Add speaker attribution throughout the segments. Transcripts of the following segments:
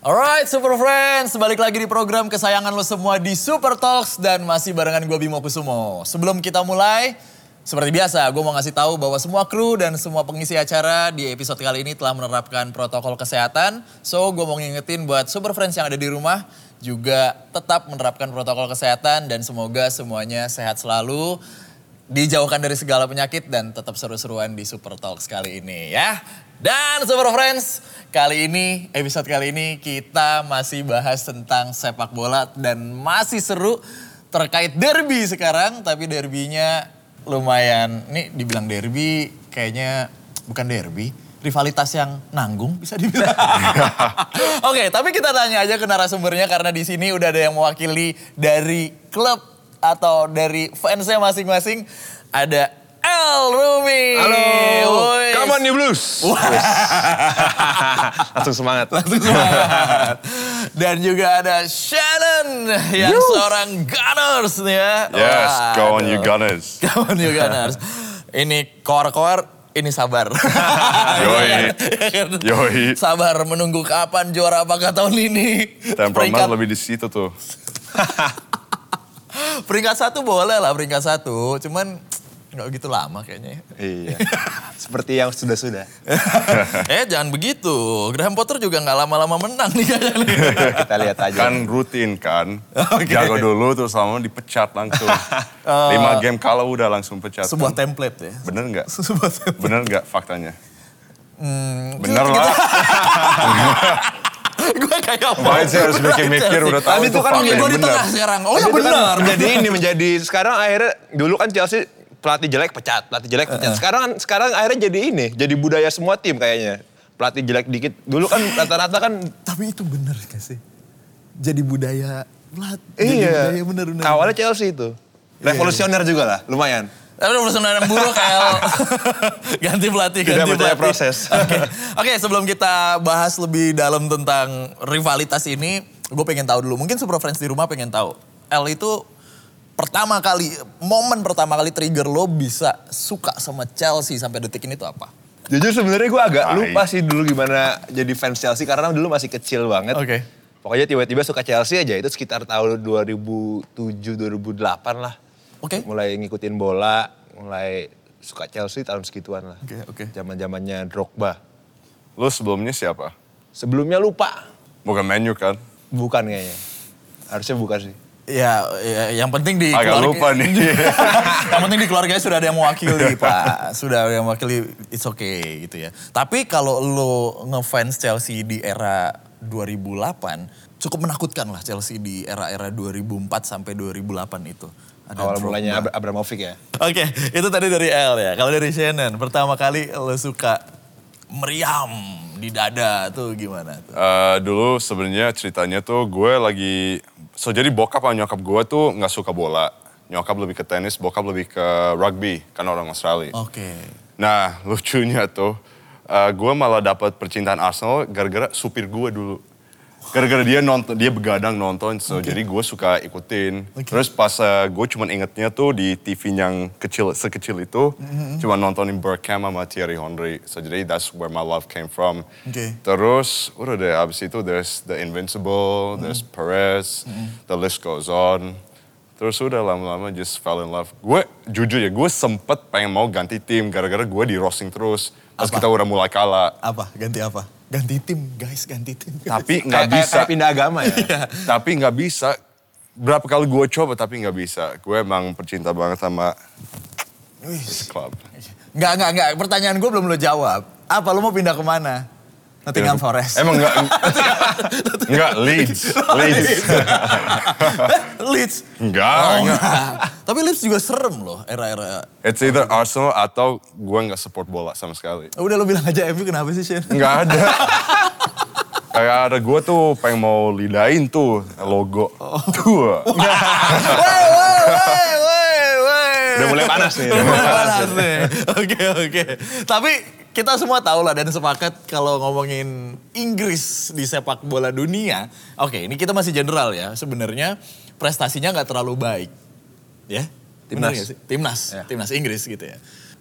Speaker 1: Alright Super Friends, balik lagi di program kesayangan lo semua di Super Talks dan masih barengan gue Bimo Kusumo. Sebelum kita mulai, seperti biasa gue mau ngasih tahu bahwa semua kru dan semua pengisi acara di episode kali ini telah menerapkan protokol kesehatan. So gue mau ngingetin buat Super Friends yang ada di rumah juga tetap menerapkan protokol kesehatan dan semoga semuanya sehat selalu. Dijauhkan dari segala penyakit dan tetap seru-seruan di Super Talks kali ini ya. Dan Super Friends, kali ini, episode kali ini kita masih bahas tentang sepak bola dan masih seru terkait derby sekarang. Tapi derbynya lumayan, nih dibilang derby kayaknya bukan derby. Rivalitas yang nanggung bisa dibilang. Oke, tapi kita tanya aja ke narasumbernya karena di sini udah ada yang mewakili dari klub atau dari fansnya masing-masing ada El Rumi.
Speaker 2: Halo.
Speaker 1: Woi.
Speaker 2: Come on you blues. Wes. Langsung semangat.
Speaker 1: Langsung semangat. Dan juga ada Shannon yang seorang Gunners nih ya.
Speaker 3: Yes, go on you
Speaker 1: Gunners.
Speaker 3: Gunners.
Speaker 1: Go on you Gunners. Ini koar-koar, ini sabar.
Speaker 3: Yoi. Yoi.
Speaker 1: Sabar menunggu kapan juara apakah tahun ini.
Speaker 3: Temperament
Speaker 1: Peringkat-
Speaker 3: lebih di situ tuh.
Speaker 1: Peringkat satu boleh lah peringkat satu. Cuman nggak gitu lama kayaknya. ya.
Speaker 2: Iya. Seperti yang sudah-sudah.
Speaker 1: eh jangan begitu. Graham Potter juga nggak lama-lama menang nih kayaknya.
Speaker 2: Kita lihat aja.
Speaker 3: Kan rutin kan.
Speaker 1: Oke.
Speaker 3: Jago dulu terus lama dipecat langsung. Lima game kalau udah langsung pecat.
Speaker 1: Eh, Sebuah template ya.
Speaker 3: Bener nggak?
Speaker 1: Sebuah template.
Speaker 3: Bener nggak faktanya?
Speaker 1: Hmm,
Speaker 3: Bener lah.
Speaker 1: gue kayak mau.
Speaker 3: Makanya saya harus mikir-mikir udah tahu
Speaker 2: Tapi itu kan
Speaker 3: fakta
Speaker 2: yang
Speaker 1: gue
Speaker 3: yang
Speaker 1: di
Speaker 3: bener.
Speaker 1: tengah sekarang. Oh ya
Speaker 2: Itu
Speaker 1: benar.
Speaker 2: kan Jadi ini menjadi sekarang akhirnya dulu kan Chelsea pelatih jelek pecat, pelatih jelek pecat. Sekarang kan- sekarang akhirnya jadi ini, jadi budaya semua tim kayaknya. Pelatih jelek dikit. Dulu kan rata-rata kan
Speaker 1: Tapi itu benar gak sih? Jadi budaya pelat.
Speaker 2: iya.
Speaker 1: Jadi budaya bener-bener.
Speaker 2: Awalnya Chelsea itu. Revolusioner juga lah, lumayan.
Speaker 1: Tapi perusahaan buruk El. ganti pelatih,
Speaker 2: Tidak
Speaker 1: ganti
Speaker 2: percaya
Speaker 1: pelatih.
Speaker 2: proses.
Speaker 1: Oke, Oke, sebelum kita bahas lebih dalam tentang rivalitas ini, gue pengen tahu dulu. Mungkin Super Friends di rumah pengen tahu. El itu pertama kali, momen pertama kali trigger lo bisa suka sama Chelsea sampai detik ini tuh apa?
Speaker 2: Jujur sebenarnya gue agak
Speaker 3: Tai.
Speaker 2: lupa sih dulu gimana jadi fans Chelsea karena dulu masih kecil banget.
Speaker 1: Oke.
Speaker 2: Pokoknya tiba-tiba suka Chelsea aja itu sekitar tahun 2007-2008 lah.
Speaker 1: Oke.
Speaker 2: Mulai ngikutin bola, mulai suka Chelsea tahun segituan lah.
Speaker 1: Oke, oke.
Speaker 2: Zaman-zamannya Drogba.
Speaker 3: Lu sebelumnya siapa?
Speaker 2: Sebelumnya lupa.
Speaker 3: Bukan menu kan?
Speaker 2: Bukan kayaknya. Harusnya bukan sih.
Speaker 1: Ya, ya, yang penting di
Speaker 3: Agak
Speaker 1: keluarga-
Speaker 3: lupa nih.
Speaker 1: yang penting di keluarganya sudah ada yang mewakili, Pak. Sudah ada yang mewakili, it's okay gitu ya. Tapi kalau lo ngefans Chelsea di era 2008, cukup menakutkan lah Chelsea di era-era 2004 sampai 2008 itu. Ada
Speaker 2: Awal
Speaker 1: Drogba.
Speaker 2: mulanya Abra- Abramovich ya.
Speaker 1: Oke, itu tadi dari L ya. Kalau dari Shannon, pertama kali lo suka meriam di dada tuh gimana tuh?
Speaker 3: Eh, dulu sebenarnya ceritanya tuh gue lagi so jadi bokap sama nyokap gue tuh nggak suka bola nyokap lebih ke tenis bokap lebih ke rugby karena orang Australia
Speaker 1: Oke.
Speaker 3: nah lucunya tuh eh, gue malah dapat percintaan Arsenal gara-gara supir gue dulu gara-gara dia nonton dia begadang nonton so jadi gue suka ikutin
Speaker 1: Oke.
Speaker 3: terus pas eh, gue cuman ingetnya tuh di TV yang kecil sekecil itu
Speaker 1: Mm-hmm.
Speaker 3: cuma nontonin Bergkamp sama Thierry Henry so jadi that's where my love came from
Speaker 1: Oke.
Speaker 3: Terus udah deh abis itu there's The Invincible, there's Perez, the list goes on. Terus udah lama-lama just fell in love. Gue jujur ya, gue sempet pengen mau ganti tim gara-gara gue di roasting terus. Pas
Speaker 1: Apa?
Speaker 3: kita udah mulai kalah.
Speaker 1: Apa? Ganti apa? Ganti tim, guys, ganti tim.
Speaker 3: Tapi nggak
Speaker 2: Kayak, kayak,
Speaker 3: bisa.
Speaker 2: kayak pindah agama ya.
Speaker 1: Iya.
Speaker 3: tapi nggak bisa. Berapa kali gue coba tapi nggak bisa. Gue emang percinta banget sama
Speaker 1: Wih.
Speaker 3: club.
Speaker 1: Enggak, enggak, enggak. Pertanyaan gue belum lo jawab. Apa lo mau pindah kemana? Nottingham Forest.
Speaker 3: Iya.
Speaker 1: Oh,
Speaker 3: Emang nggak, nggak Leeds, Leeds.
Speaker 1: Leeds.
Speaker 3: Nggak,
Speaker 1: Oh,
Speaker 3: nggak.
Speaker 1: enggak. Tapi Leeds juga serem loh era-era.
Speaker 3: It's either Arsenal atau gue nggak support bola sama sekali.
Speaker 1: Udah lo bilang aja MU kenapa sih Shen?
Speaker 3: Nggak ada. Kayak ada gue tuh pengen mau lidain tuh logo. Tuh.
Speaker 1: Woi, woi, woi, woi, woi.
Speaker 2: Udah mulai panas nih.
Speaker 1: Udah mulai panas nih. Oke, oke. Tapi kita semua tahu lah dan sepakat kalau ngomongin Inggris di sepak bola dunia. Oke, ini kita masih general ya. Sebenarnya prestasinya nggak terlalu baik. Ya? Benar
Speaker 2: Timnas.
Speaker 1: nggak sih? Timnas.
Speaker 2: Ya.
Speaker 1: Timnas Inggris gitu ya.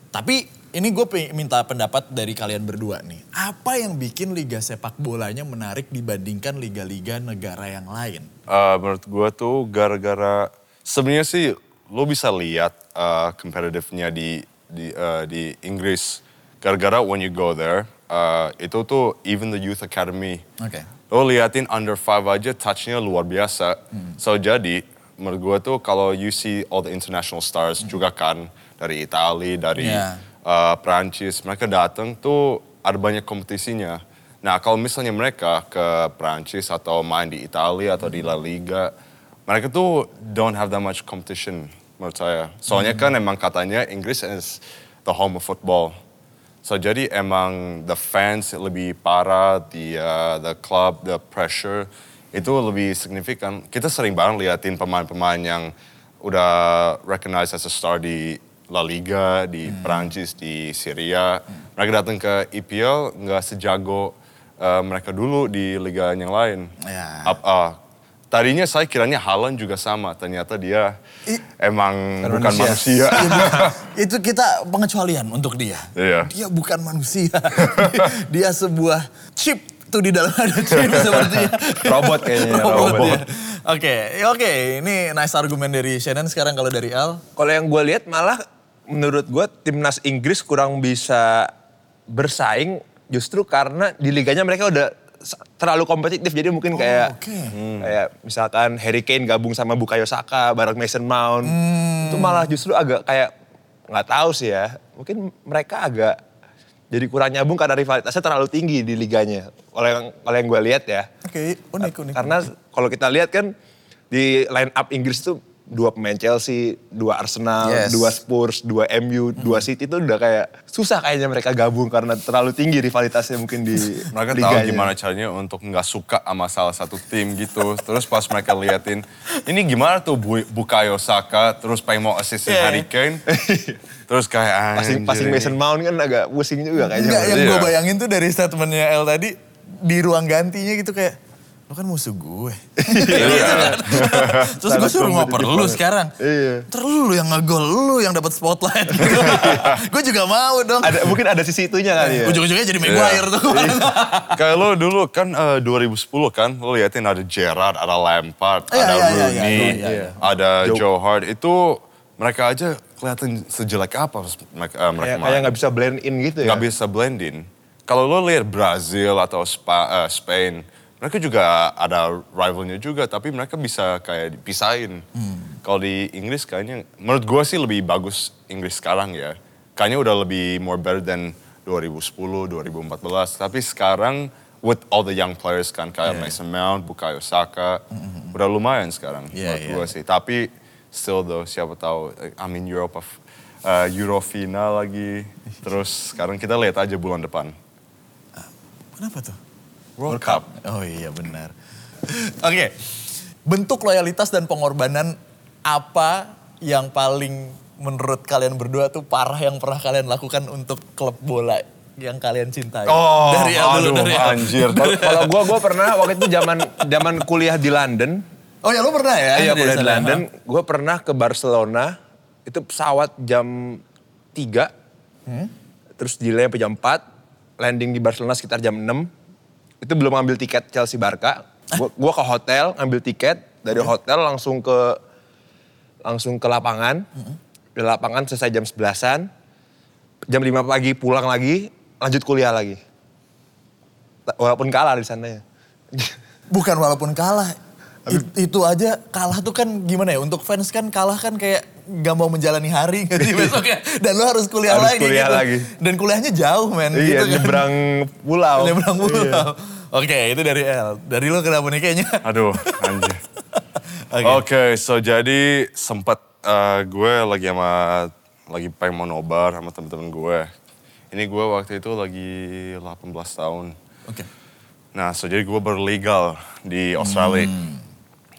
Speaker 1: Tapi ini gue minta pendapat dari kalian berdua nih. Apa yang bikin liga sepak bolanya menarik dibandingkan liga-liga negara yang lain?
Speaker 3: Eh, menurut gue tuh gara-gara sebenarnya sih lo bisa lihat eh, competitive-nya di di eh, di Inggris gara-gara when you go there eh, itu tuh even the youth academy
Speaker 1: Oke.
Speaker 3: lo liatin under five aja touch-nya luar biasa so jadi menurut gue tuh kalau you see all the international stars juga kan dari Italia dari
Speaker 1: Yeah.
Speaker 3: eh, Prancis mereka datang tuh ada banyak kompetisinya. Nah kalau misalnya mereka ke Prancis atau main di Italia atau di La Liga, mereka tuh don't have that much competition menurut saya. Soalnya kan emang katanya Inggris is the home of football. So jadi emang the fans lebih parah, the uh, the club, the pressure itu lebih signifikan. Kita sering banget liatin pemain-pemain yang udah recognized as a star di La Liga, di
Speaker 1: Hmm.
Speaker 3: Perancis, di Syria. Mereka datang ke EPL nggak sejago uh, mereka dulu di liga yang lain.
Speaker 1: Ya.
Speaker 3: Ap- ah, tadinya saya kiranya Haaland juga sama, ternyata dia
Speaker 1: I-
Speaker 3: emang
Speaker 2: Bukan
Speaker 3: bukan
Speaker 2: manusia.
Speaker 3: manusia.
Speaker 1: Iya, Bu. itu kita pengecualian untuk dia.
Speaker 3: Iya.
Speaker 1: Dia bukan manusia. dia sebuah chip tuh di dalam ada chip sepertinya.
Speaker 2: Robot kayaknya,
Speaker 1: robot. ya.
Speaker 2: robot.
Speaker 1: Oke, ya oke. Ini nice argumen dari Shannon. Sekarang kalau dari Al,
Speaker 2: Kalau yang gue lihat malah menurut gue timnas Inggris kurang bisa bersaing justru karena di liganya mereka udah s- terlalu kompetitif jadi mungkin kayak
Speaker 1: oke.
Speaker 2: Hmm. kayak misalkan Harry Kane gabung sama Bukayo Saka bareng Mason Mount itu malah justru agak kayak nggak tahu sih ya mungkin mereka agak jadi kurang nyambung karena rivalitasnya terlalu tinggi di liganya kalau yang kalau yang gue lihat ya
Speaker 1: oke unik unik.
Speaker 2: karena kalau kita lihat kan di line up Inggris tuh dua pemain Chelsea, dua Arsenal,
Speaker 1: Yes.
Speaker 2: dua Spurs, dua MU, dua City tuh udah kayak susah kayaknya mereka gabung karena terlalu tinggi rivalitasnya mungkin di
Speaker 3: mereka tahu
Speaker 2: liganya.
Speaker 3: gimana caranya untuk nggak suka sama salah satu tim gitu. Terus pas mereka liatin, ini gimana tuh Bu Bukayo Saka, terus pengen mau assistin
Speaker 1: Iya.
Speaker 3: Harry Kane. terus kayak
Speaker 2: Passing,
Speaker 3: anjir
Speaker 2: passing
Speaker 3: ini.
Speaker 2: Mason Mount kan agak pusing juga kayaknya.
Speaker 1: Enggak, yang
Speaker 3: Iya.
Speaker 1: gue bayangin tuh dari statementnya El tadi di ruang gantinya gitu kayak lo kan musuh gue.
Speaker 2: Iya.
Speaker 1: Gitu kan. Terus gue
Speaker 2: Sangat
Speaker 1: suruh ngoper
Speaker 2: kompetitif
Speaker 1: lu
Speaker 2: banget.
Speaker 1: sekarang.
Speaker 2: Iya.
Speaker 1: Terus lu yang ngegol, lu yang dapat spotlight. gue juga mau dong.
Speaker 2: Ada, mungkin ada sisi itunya kali
Speaker 3: Iya.
Speaker 2: ya.
Speaker 1: Ujung-ujungnya jadi Maguire tuh.
Speaker 3: Kayak lo dulu kan eh, 2010 kan, lo liatin ada Gerrard, ada Lampard,
Speaker 1: Iya,
Speaker 3: ada
Speaker 1: iya, iya,
Speaker 3: Rooney,
Speaker 1: iya, iya.
Speaker 3: ada Joe Hart. Itu mereka aja kelihatan sejelek apa pas mereka, eh, mereka
Speaker 2: Kayak
Speaker 3: main.
Speaker 2: kayak nggak bisa blend in gitu ya.
Speaker 3: nggak bisa blending. Kalau lo lihat Brazil atau Spa- eh, Spain, mereka juga ada rivalnya juga, tapi mereka bisa kayak dipisahin.
Speaker 2: Hmm.
Speaker 3: Kalau di Inggris kayaknya, menurut gue sih lebih bagus Inggris sekarang ya. Kayaknya udah lebih more better than 2010, 2014. Tapi sekarang with all the young players kan, kayak Mason Mount, Bukayo Saka,
Speaker 2: Mm-hmm.
Speaker 3: udah lumayan sekarang
Speaker 1: Iya,
Speaker 3: menurut
Speaker 1: iya.
Speaker 3: gue sih. Tapi still though, siapa tahu, eh, I mean Europa, uh, Euro final lagi. Terus sekarang kita lihat aja bulan depan.
Speaker 1: Kenapa tuh?
Speaker 3: World Cup.
Speaker 1: Oh iya benar. Oke, bentuk loyalitas dan pengorbanan apa yang paling menurut kalian berdua tuh parah yang pernah kalian lakukan untuk klub bola yang kalian cintai?
Speaker 3: Oh,
Speaker 1: dari El dulu,
Speaker 3: aduh,
Speaker 1: dari El.
Speaker 3: anjir.
Speaker 2: Kalau- Kalau gue, gue pernah waktu itu zaman zaman kuliah di London,
Speaker 1: Oh ya lu pernah ya?
Speaker 2: Iya,
Speaker 1: Dari
Speaker 2: kuliah di
Speaker 1: sana?
Speaker 2: London. Gue pernah ke Barcelona, itu pesawat jam 3,
Speaker 1: Hmm?
Speaker 2: terus delay sampai jam 4, landing di Barcelona sekitar jam 6. Itu belum ngambil tiket Chelsea Barca. Gue gua ke hotel, ngambil tiket, dari
Speaker 1: Hmm.
Speaker 2: hotel langsung ke langsung ke lapangan.
Speaker 1: Hmm.
Speaker 2: Di lapangan selesai jam 11-an, jam 5 pagi pulang lagi, lanjut kuliah lagi. Walaupun kalah di sana ya.
Speaker 1: Bukan walaupun kalah. it- itu aja kalah tuh kan gimana ya untuk fans kan kalah kan kayak gak mau menjalani hari nggak sih besoknya dan lu harus kuliah
Speaker 2: Harus
Speaker 1: lagi
Speaker 2: kuliah
Speaker 1: gitu.
Speaker 2: lagi.
Speaker 1: dan kuliahnya jauh men
Speaker 2: Iya,
Speaker 1: gitu kan.
Speaker 2: nyebrang pulau.
Speaker 1: Nyebrang pulau.
Speaker 2: Iya.
Speaker 1: Oke, itu dari L. Dari lo kenapa nih kayaknya?
Speaker 3: Aduh, anjir.
Speaker 1: Oke.
Speaker 3: Oke, so jadi sempat uh, gue lagi sama lagi pengen mau nobar sama temen-temen gue. Ini gue waktu itu lagi 18 tahun.
Speaker 1: Oke.
Speaker 3: Nah, so jadi gue baru legal di Australia.
Speaker 1: Hmm.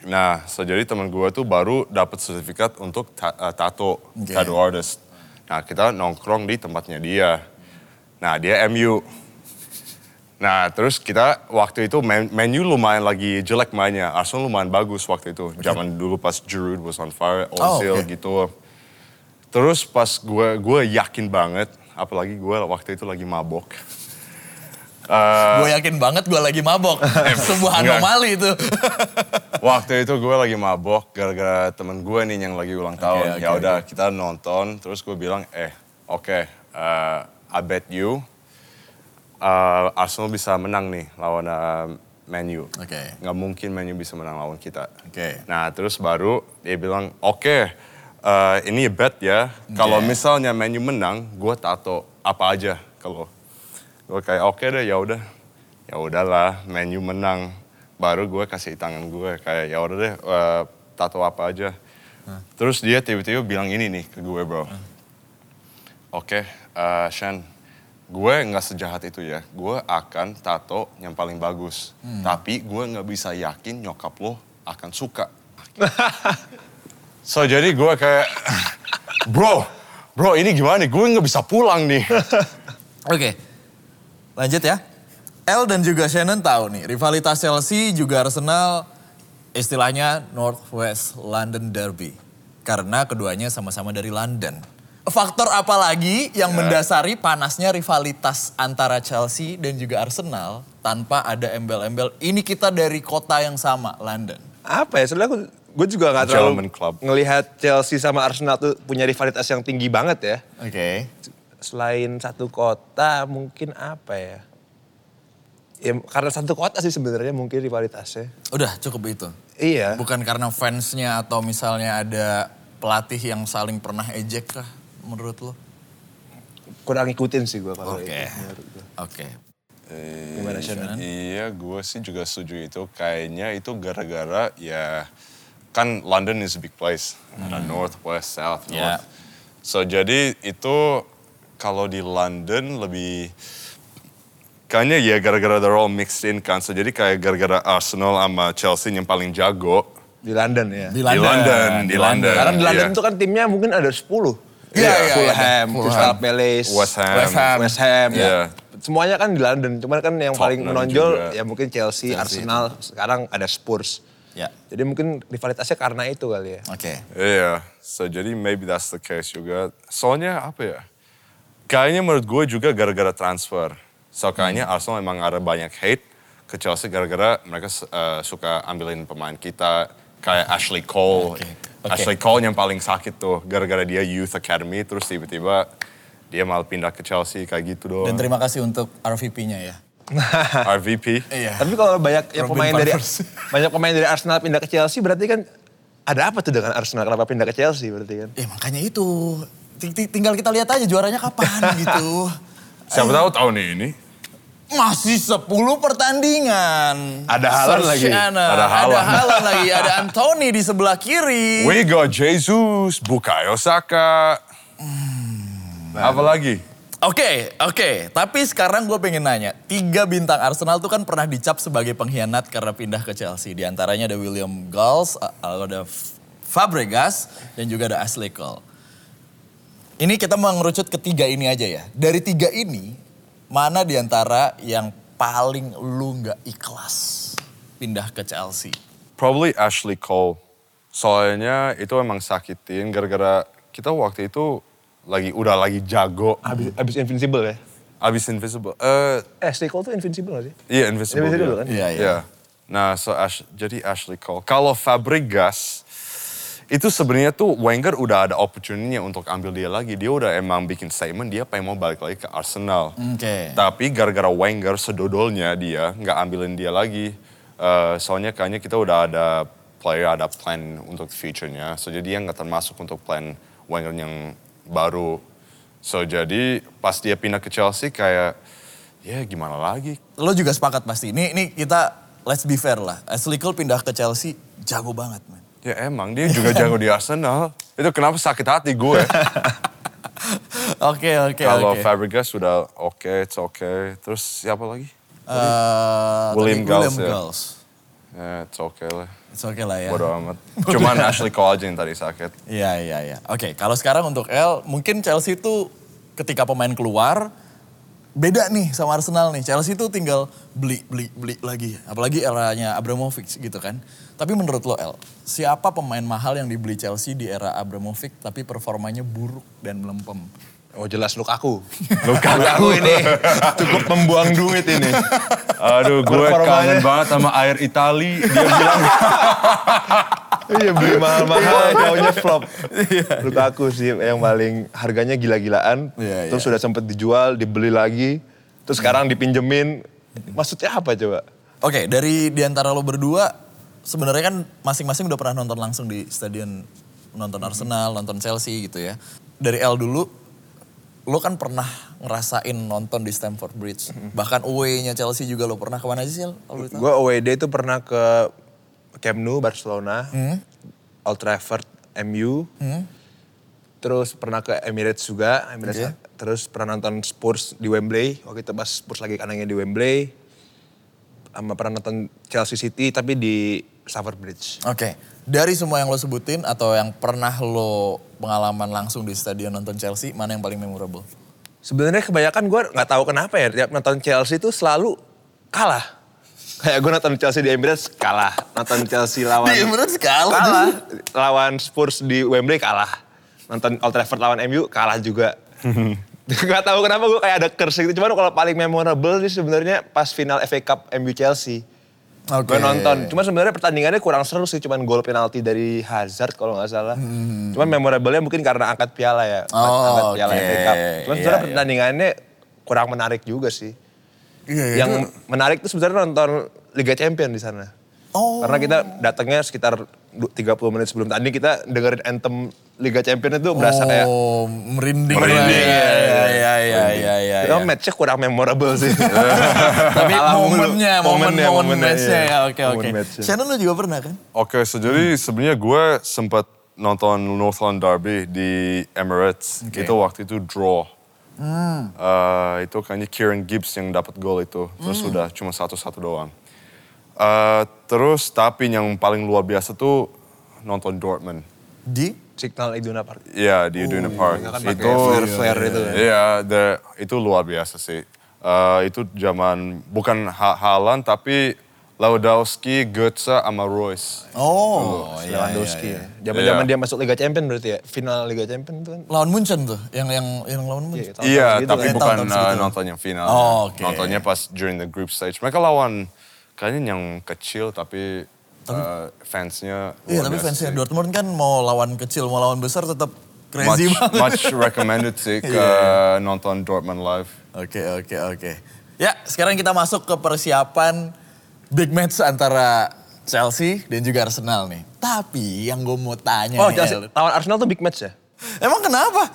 Speaker 3: Nah, so jadi teman gue tuh baru dapat sertifikat untuk ta- eh, tato,
Speaker 1: Oke.
Speaker 3: tattoo artist. Nah, kita nongkrong di tempatnya dia. Nah, dia MU. Nah, terus kita waktu itu men- menu lumayan lagi jelek mainnya. Arsenal lumayan bagus waktu itu. Zaman dulu pas Giroud was on fire,
Speaker 1: Oh,
Speaker 3: Ozil
Speaker 1: oke.
Speaker 3: gitu. Terus pas gue gue yakin banget apalagi gue waktu itu lagi mabok. Eh,
Speaker 1: Gue yakin banget gue lagi mabok. Sebuah
Speaker 3: Enggak.
Speaker 1: anomali itu.
Speaker 3: waktu itu gue lagi mabok gara-gara temen gue nih yang lagi ulang tahun.
Speaker 1: oke,
Speaker 3: ya udah kita nonton, terus gue bilang, eh oke, eh, I bet you eh, Arsenal bisa menang nih lawan Menu. Man U.
Speaker 1: Oke.
Speaker 3: Nggak mungkin Man U bisa menang lawan kita.
Speaker 1: Oke.
Speaker 3: Nah terus baru dia bilang, oke eh, ini bet ya. Kalau
Speaker 1: Oke.
Speaker 3: misalnya Man U menang, gue tato apa aja kalau gue kayak oke deh ya udah ya udahlah Man U menang baru gue kasih tangan gue kayak ya udah deh eh, tato apa aja terus dia tiba-tiba bilang ini nih ke gue bro Oke, eh, Shan, gue nggak sejahat itu ya. Gue akan tato yang paling bagus. Tapi gue nggak bisa yakin nyokap lo akan suka. so, jadi gue kayak, bro, bro ini gimana nih? Gue nggak bisa pulang nih.
Speaker 1: Oke, lanjut ya. El dan juga Shannon tahu nih, rivalitas Chelsea juga Arsenal istilahnya Northwest London Derby. Karena keduanya sama-sama dari London. Faktor apa lagi yang mendasari panasnya rivalitas antara Chelsea dan juga Arsenal tanpa ada embel-embel ini kita dari kota yang sama, London.
Speaker 2: Apa ya, sebenarnya aku- gue juga gak
Speaker 3: Gentleman
Speaker 2: terlalu
Speaker 3: club.
Speaker 2: ngelihat Chelsea sama Arsenal tuh punya rivalitas yang tinggi banget ya.
Speaker 1: Oke.
Speaker 2: Selain satu kota mungkin apa ya. Ya, karena satu kota sih sebenarnya mungkin rivalitasnya.
Speaker 1: Udah cukup itu.
Speaker 2: Iya.
Speaker 1: Bukan karena fansnya atau misalnya ada pelatih yang saling pernah ejek kah menurut lo?
Speaker 2: kurang ngikutin sih gue kalau
Speaker 1: Oke.
Speaker 3: gitu,
Speaker 2: itu. menurut gua.
Speaker 1: Oke.
Speaker 2: Gimana Shannon?
Speaker 3: Iya, gue sih juga setuju itu. Kayaknya itu gara-gara ya kan London is a big place. Ada
Speaker 2: Hmm.
Speaker 3: north, west, south,
Speaker 2: Ya.
Speaker 1: Yeah.
Speaker 3: north. So jadi itu kalau di London lebih kayaknya ya gara-gara they're all mixed in kan. So jadi kayak gara-gara Arsenal sama Chelsea yang paling jago
Speaker 2: Di London ya.
Speaker 1: Di
Speaker 3: di London, di London.
Speaker 2: Karena di London
Speaker 3: Iya.
Speaker 2: tuh kan timnya mungkin ada 10.
Speaker 1: Iya, iya, iya.
Speaker 2: Fulham,
Speaker 1: Fulham.
Speaker 2: Crystal Palace,
Speaker 3: West Ham.
Speaker 1: West Ham. ya.
Speaker 2: West Ham,
Speaker 3: Iya.
Speaker 2: Semuanya kan di London, cuman kan yang paling
Speaker 3: Tottenham
Speaker 2: menonjol
Speaker 3: juga.
Speaker 2: ya mungkin Chelsea, Arsenal, sekarang ada Spurs.
Speaker 1: Ya.
Speaker 2: Jadi mungkin rivalitasnya karena itu kali ya.
Speaker 1: Oke.
Speaker 3: Iya, so jadi maybe that's the case juga. Soalnya apa ya? Kayaknya menurut gue juga gara-gara transfer. So kayaknya
Speaker 1: Hmm.
Speaker 3: Arsenal memang ada banyak hate ke Chelsea gara-gara mereka eh, suka ambilin pemain kita kayak Ashley Cole.
Speaker 1: Oke, oke.
Speaker 3: Ashley Cole yang paling sakit tuh gara-gara dia youth academy terus tiba-tiba dia malah pindah ke Chelsea kayak gitu
Speaker 1: Dan
Speaker 3: doang.
Speaker 1: terima kasih untuk RVP-nya ya.
Speaker 3: RVP.
Speaker 1: Iya.
Speaker 2: Tapi kalau banyak yang
Speaker 1: Robin
Speaker 2: pemain dari
Speaker 1: Parvers.
Speaker 2: banyak pemain dari Arsenal pindah ke Chelsea berarti kan ada apa tuh dengan Arsenal kenapa pindah ke Chelsea berarti kan?
Speaker 1: Ya makanya itu. Ting- ting- Tinggal kita lihat aja juaranya kapan gitu.
Speaker 3: Siapa tahu tahun ini.
Speaker 1: Masih 10 pertandingan.
Speaker 2: Ada Haaland lagi.
Speaker 1: Ada
Speaker 3: Ada
Speaker 1: Ada
Speaker 3: Haaland.
Speaker 1: Haaland lagi. Ada Anthony di sebelah kiri.
Speaker 3: We got Jesus, Bukayo Saka.
Speaker 1: Hmm.
Speaker 3: Apa lagi?
Speaker 1: Oke, oke. Tapi sekarang gue pengen nanya. Tiga bintang Arsenal tuh kan pernah dicap sebagai pengkhianat karena pindah ke Chelsea. Di antaranya ada William Galls, a- ada F- Fabregas, dan juga ada Ashley Cole. Ini kita mengerucut ketiga ini aja ya. Dari tiga ini, mana di antara yang paling lu nggak ikhlas pindah ke Chelsea?
Speaker 3: Probably Ashley Cole. Soalnya itu emang sakitin gara-gara kita waktu itu lagi udah lagi jago
Speaker 2: Abis, abis invincible ya?
Speaker 3: abis invisible. Eh
Speaker 2: Eh, Stay Cold tuh invincible gak sih?
Speaker 3: iya invisible.
Speaker 2: Invisible
Speaker 3: dia.
Speaker 2: kan?
Speaker 1: Iya, iya.
Speaker 3: Iya. Nah, so Ash- jadi Ashley Cole. Kalau Fabregas itu sebenarnya tuh Wenger udah ada opportunity-nya untuk ambil dia lagi. Dia udah emang bikin statement dia pengen mau balik lagi ke Arsenal.
Speaker 1: Oke.
Speaker 3: Tapi gara-gara Wenger sedodolnya dia nggak ambilin dia lagi. Eh, soalnya kayaknya kita udah ada player ada plan untuk future-nya. So jadi dia nggak termasuk untuk plan Wenger yang baru. So jadi pas dia pindah ke Chelsea kayak ya gimana lagi?
Speaker 1: Lo juga sepakat pasti. Ini, ini kita let's be fair lah. Ashley Cole pindah ke Chelsea jago banget, man.
Speaker 3: Ya emang dia juga jago di Arsenal. Itu kenapa sakit hati gue.
Speaker 1: Oke oke
Speaker 3: Kalau
Speaker 1: Iya, oke.
Speaker 3: Fabregas sudah oke, it's okay. Terus siapa lagi?
Speaker 1: Eh,
Speaker 3: William
Speaker 1: tadi
Speaker 3: Galls, ya.
Speaker 1: Galls.
Speaker 3: Ya, it's okay lah.
Speaker 1: It's okay lah ya.
Speaker 3: Bodo amat. Cuman Ashley Cole aja yang tadi sakit.
Speaker 1: Iya iya iya. Oke, kalau sekarang untuk L, mungkin Chelsea itu ketika pemain keluar beda nih sama Arsenal nih. Chelsea itu tinggal beli beli beli lagi. Apalagi eranya Abramovich gitu kan. Tapi menurut lo L, siapa pemain mahal yang dibeli Chelsea di era Abramovich tapi performanya buruk dan melempem?
Speaker 2: Oh jelas Lukaku. Lukaku ini cukup membuang duit ini.
Speaker 3: Aduh, gue
Speaker 2: Performanya.
Speaker 3: kangen banget sama air Itali. Dia bilang,
Speaker 2: Iya beli mahal-mahal, jauhnya flop. Lukaku sih yang paling harganya gila-gilaan.
Speaker 1: Iya,
Speaker 2: terus
Speaker 1: iya.
Speaker 2: sudah sempat dijual, dibeli lagi. Terus sekarang dipinjemin. Maksudnya apa coba?
Speaker 1: Oke, dari di antara lo berdua sebenarnya kan masing-masing udah pernah nonton langsung di stadion nonton
Speaker 2: Mhm.
Speaker 1: Arsenal, nonton Chelsea gitu ya. Dari L dulu lo kan pernah ngerasain nonton di Stamford Bridge.
Speaker 2: Mhm.
Speaker 1: Bahkan away-nya Chelsea juga lo pernah kemana aja sih? L? Kalau boleh tahu?
Speaker 2: Gue away day itu pernah ke Camp Nou, Barcelona.
Speaker 1: Hmm.
Speaker 2: Old Trafford, MU. Terus pernah ke Emirates juga. Emirates.
Speaker 1: Oke.
Speaker 2: Terus pernah nonton Spurs di Wembley. Waktu itu pas Spurs lagi kanangnya di Wembley. Sama pernah nonton Chelsea City tapi di Stamford Bridge.
Speaker 1: Oke, dari semua yang lo sebutin atau yang pernah lo pengalaman langsung di stadion nonton Chelsea, mana yang paling memorable?
Speaker 2: Sebenarnya kebanyakan gue nggak tahu kenapa ya tiap nonton Chelsea itu selalu kalah. Kayak gue nonton Chelsea di Emirates kalah, nonton Chelsea lawan
Speaker 1: Di Emirates kalah.
Speaker 2: kalah, lawan Spurs di Wembley kalah, nonton Old Trafford lawan MU kalah juga. Gak tahu kenapa gue kayak ada curse gitu. Cuman kalau paling memorable sih sebenarnya pas final FA Cup MU Chelsea.
Speaker 1: Oke.
Speaker 2: Gue nonton. Cuma sebenarnya pertandingannya kurang seru sih. Cuman gol penalti dari Hazard kalau nggak salah. Cuman memorable-nya mungkin karena angkat piala ya. angkat
Speaker 1: Hmm. Oh,
Speaker 2: piala
Speaker 1: oke.
Speaker 2: FA Cup. Cuman
Speaker 1: Iya,
Speaker 2: sebenarnya
Speaker 1: iya.
Speaker 2: pertandingannya kurang menarik juga sih.
Speaker 1: Iya, iya.
Speaker 2: Yang menarik tuh sebenarnya nonton Liga Champion di sana.
Speaker 1: Oh.
Speaker 2: Karena kita datangnya sekitar du- 30 menit sebelum tanding kita dengerin anthem Liga Champion itu berasa kayak
Speaker 1: Oh, merinding.
Speaker 3: Merinding,
Speaker 1: lah. Iya, iya, iya, iya, iya.
Speaker 2: Ya,
Speaker 1: iya.
Speaker 2: match-nya kurang memorable sih.
Speaker 1: Tapi
Speaker 2: Kalah mulu.
Speaker 1: momennya, momen,
Speaker 2: Momennya,
Speaker 1: momen
Speaker 2: momennya,
Speaker 1: matchnya
Speaker 2: iya.
Speaker 1: ya, oke,
Speaker 2: Momen
Speaker 1: oke.
Speaker 2: matchnya.
Speaker 1: Shannon lu juga pernah kan?
Speaker 3: Oke, so jadi sebenarnya gue sempat nonton Northland Derby di Emirates.
Speaker 1: Oke.
Speaker 3: Itu waktu itu draw. Eh, itu kayaknya Kieran Gibbs yang dapat gol itu. Terus sudah cuma satu-satu doang. Eh, terus tapi yang paling luar biasa tuh nonton Dortmund.
Speaker 1: kan? Di?
Speaker 2: Signal Iduna Park.
Speaker 3: Iya di Iduna Park.
Speaker 2: mereka kan pakai flare-flare itu kan.
Speaker 3: Iya, the- itu luar biasa sih. Eh, itu zaman bukan Ha- Haaland tapi Laudowski, Götze, sama Royce.
Speaker 1: Oh, iya, iya,
Speaker 2: Lewandowski.
Speaker 1: iya.
Speaker 2: ya. Zaman-zaman
Speaker 3: Iya.
Speaker 2: dia masuk Liga Champion berarti ya. Final Liga Champion itu kan.
Speaker 1: Lawan Munchen tuh, yang yang yang lawan Munchen.
Speaker 2: Iya, Tahun-tahun
Speaker 3: Iya,
Speaker 2: segitu kan.
Speaker 3: tapi bukan
Speaker 1: ya? Eh, Tahun-tahun
Speaker 3: uh,
Speaker 1: segitu.
Speaker 3: nonton yang final.
Speaker 1: Oh, oke.
Speaker 3: Nontonnya pas during the group stage. Mereka lawan kayaknya yang kecil tapi, uh, fansnya
Speaker 1: Iya,
Speaker 3: luar
Speaker 1: tapi
Speaker 3: biasa
Speaker 1: fansnya
Speaker 3: sih.
Speaker 1: Dortmund kan mau lawan kecil, mau lawan besar tetap crazy
Speaker 3: much,
Speaker 1: banget.
Speaker 3: much recommended sih ke
Speaker 1: Iya.
Speaker 3: nonton Dortmund live.
Speaker 1: Oke, oke, oke. Ya, sekarang kita masuk ke persiapan big match antara Chelsea dan juga Arsenal nih. Tapi yang gue mau tanya
Speaker 2: Oh,
Speaker 1: nih,
Speaker 2: Chelsea.
Speaker 1: El.
Speaker 2: Lawan Arsenal tuh big match ya?
Speaker 1: Emang kenapa?